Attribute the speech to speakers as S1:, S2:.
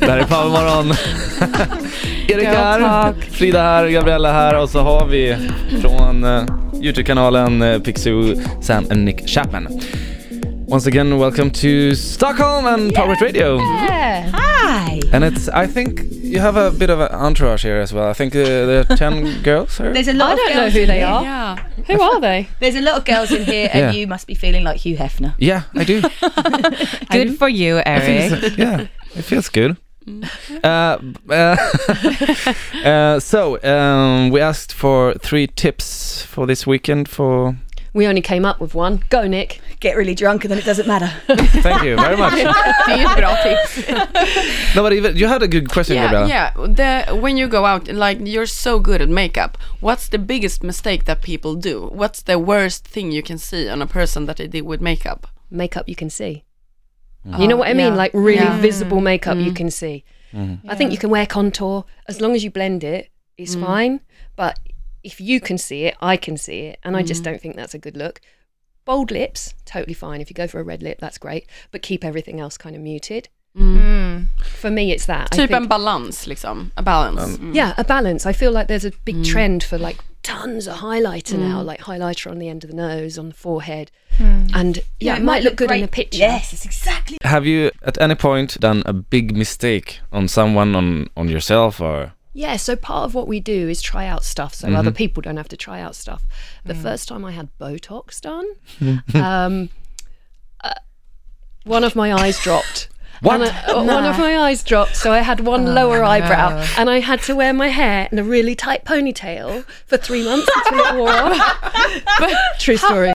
S1: Det här är Powermorgon. Erik
S2: Ja,
S1: här,
S2: tack.
S1: Frida här, Gabriella här och så har vi från eh, Youtube-kanalen eh, Pixu, Sam and Nick Chapman. Once again, welcome to Stockholm and Pirate Radio.
S3: Hi.
S1: And it's, I think you have a bit of an entourage here as well. I think uh, there are 10 girls here.
S3: There's a
S2: I
S3: lot of
S2: don't know
S3: girls
S2: who
S3: in
S2: they
S3: here.
S2: are. Who are they?
S3: There's a lot of girls in here,
S1: Yeah.
S3: and you must be feeling like Hugh Hefner.
S1: Yeah, I do.
S4: Good for you, Eric. Mm-hmm.
S1: yeah, it feels good. Uh, uh, uh, so um, we asked for three tips for this weekend. For
S2: We only came up with one. Go, Nick.
S3: Get really drunk, and then it doesn't matter.
S1: thank you very much.
S5: Det är ju ett bra tips.
S1: No, but even you had a good question,
S5: Yeah,
S1: Gabriella.
S5: yeah. The, when you go out, like you're so good at makeup, what's the biggest mistake that people do? What's the worst thing you can see on a person that they did with makeup? Uh,
S2: Makeup you can see. You
S3: Oh,
S2: know what I mean?
S5: yeah.
S2: Like really
S5: Yeah.
S2: visible makeup
S3: Mm.
S2: you can see. I think you can wear contour as long as you blend it. It's
S3: Mm.
S2: fine. But if you can see it, I can see it, and I
S3: Mm.
S2: just don't think that's a good look. Bold lips, totally fine. If you go for a red lip, that's great. But keep everything else kind of muted.
S3: Mm.
S2: For me, it's that. I
S5: Typ
S2: think-
S5: en balans liksom. A balance. Mm.
S2: Yeah, a balance. I feel like there's a big trend for like tons of highlighter now, like highlighter on the end of the nose, on the forehead. And Mm. yeah, it, might, look, good in a
S3: great.
S2: picture.
S3: Yes, it's exactly.
S1: Have you at any point done a big mistake on someone, on on yourself, or
S2: Yeah, so part of what we do is try out stuff so other people don't have to try out stuff. The first time I had Botox done, um, uh, one of my eyes dropped.
S1: What?
S2: And I- uh, One of my eyes dropped, so I had one lower eyebrow, and I had to wear my hair in a really tight ponytail for three months until it wore off. True story.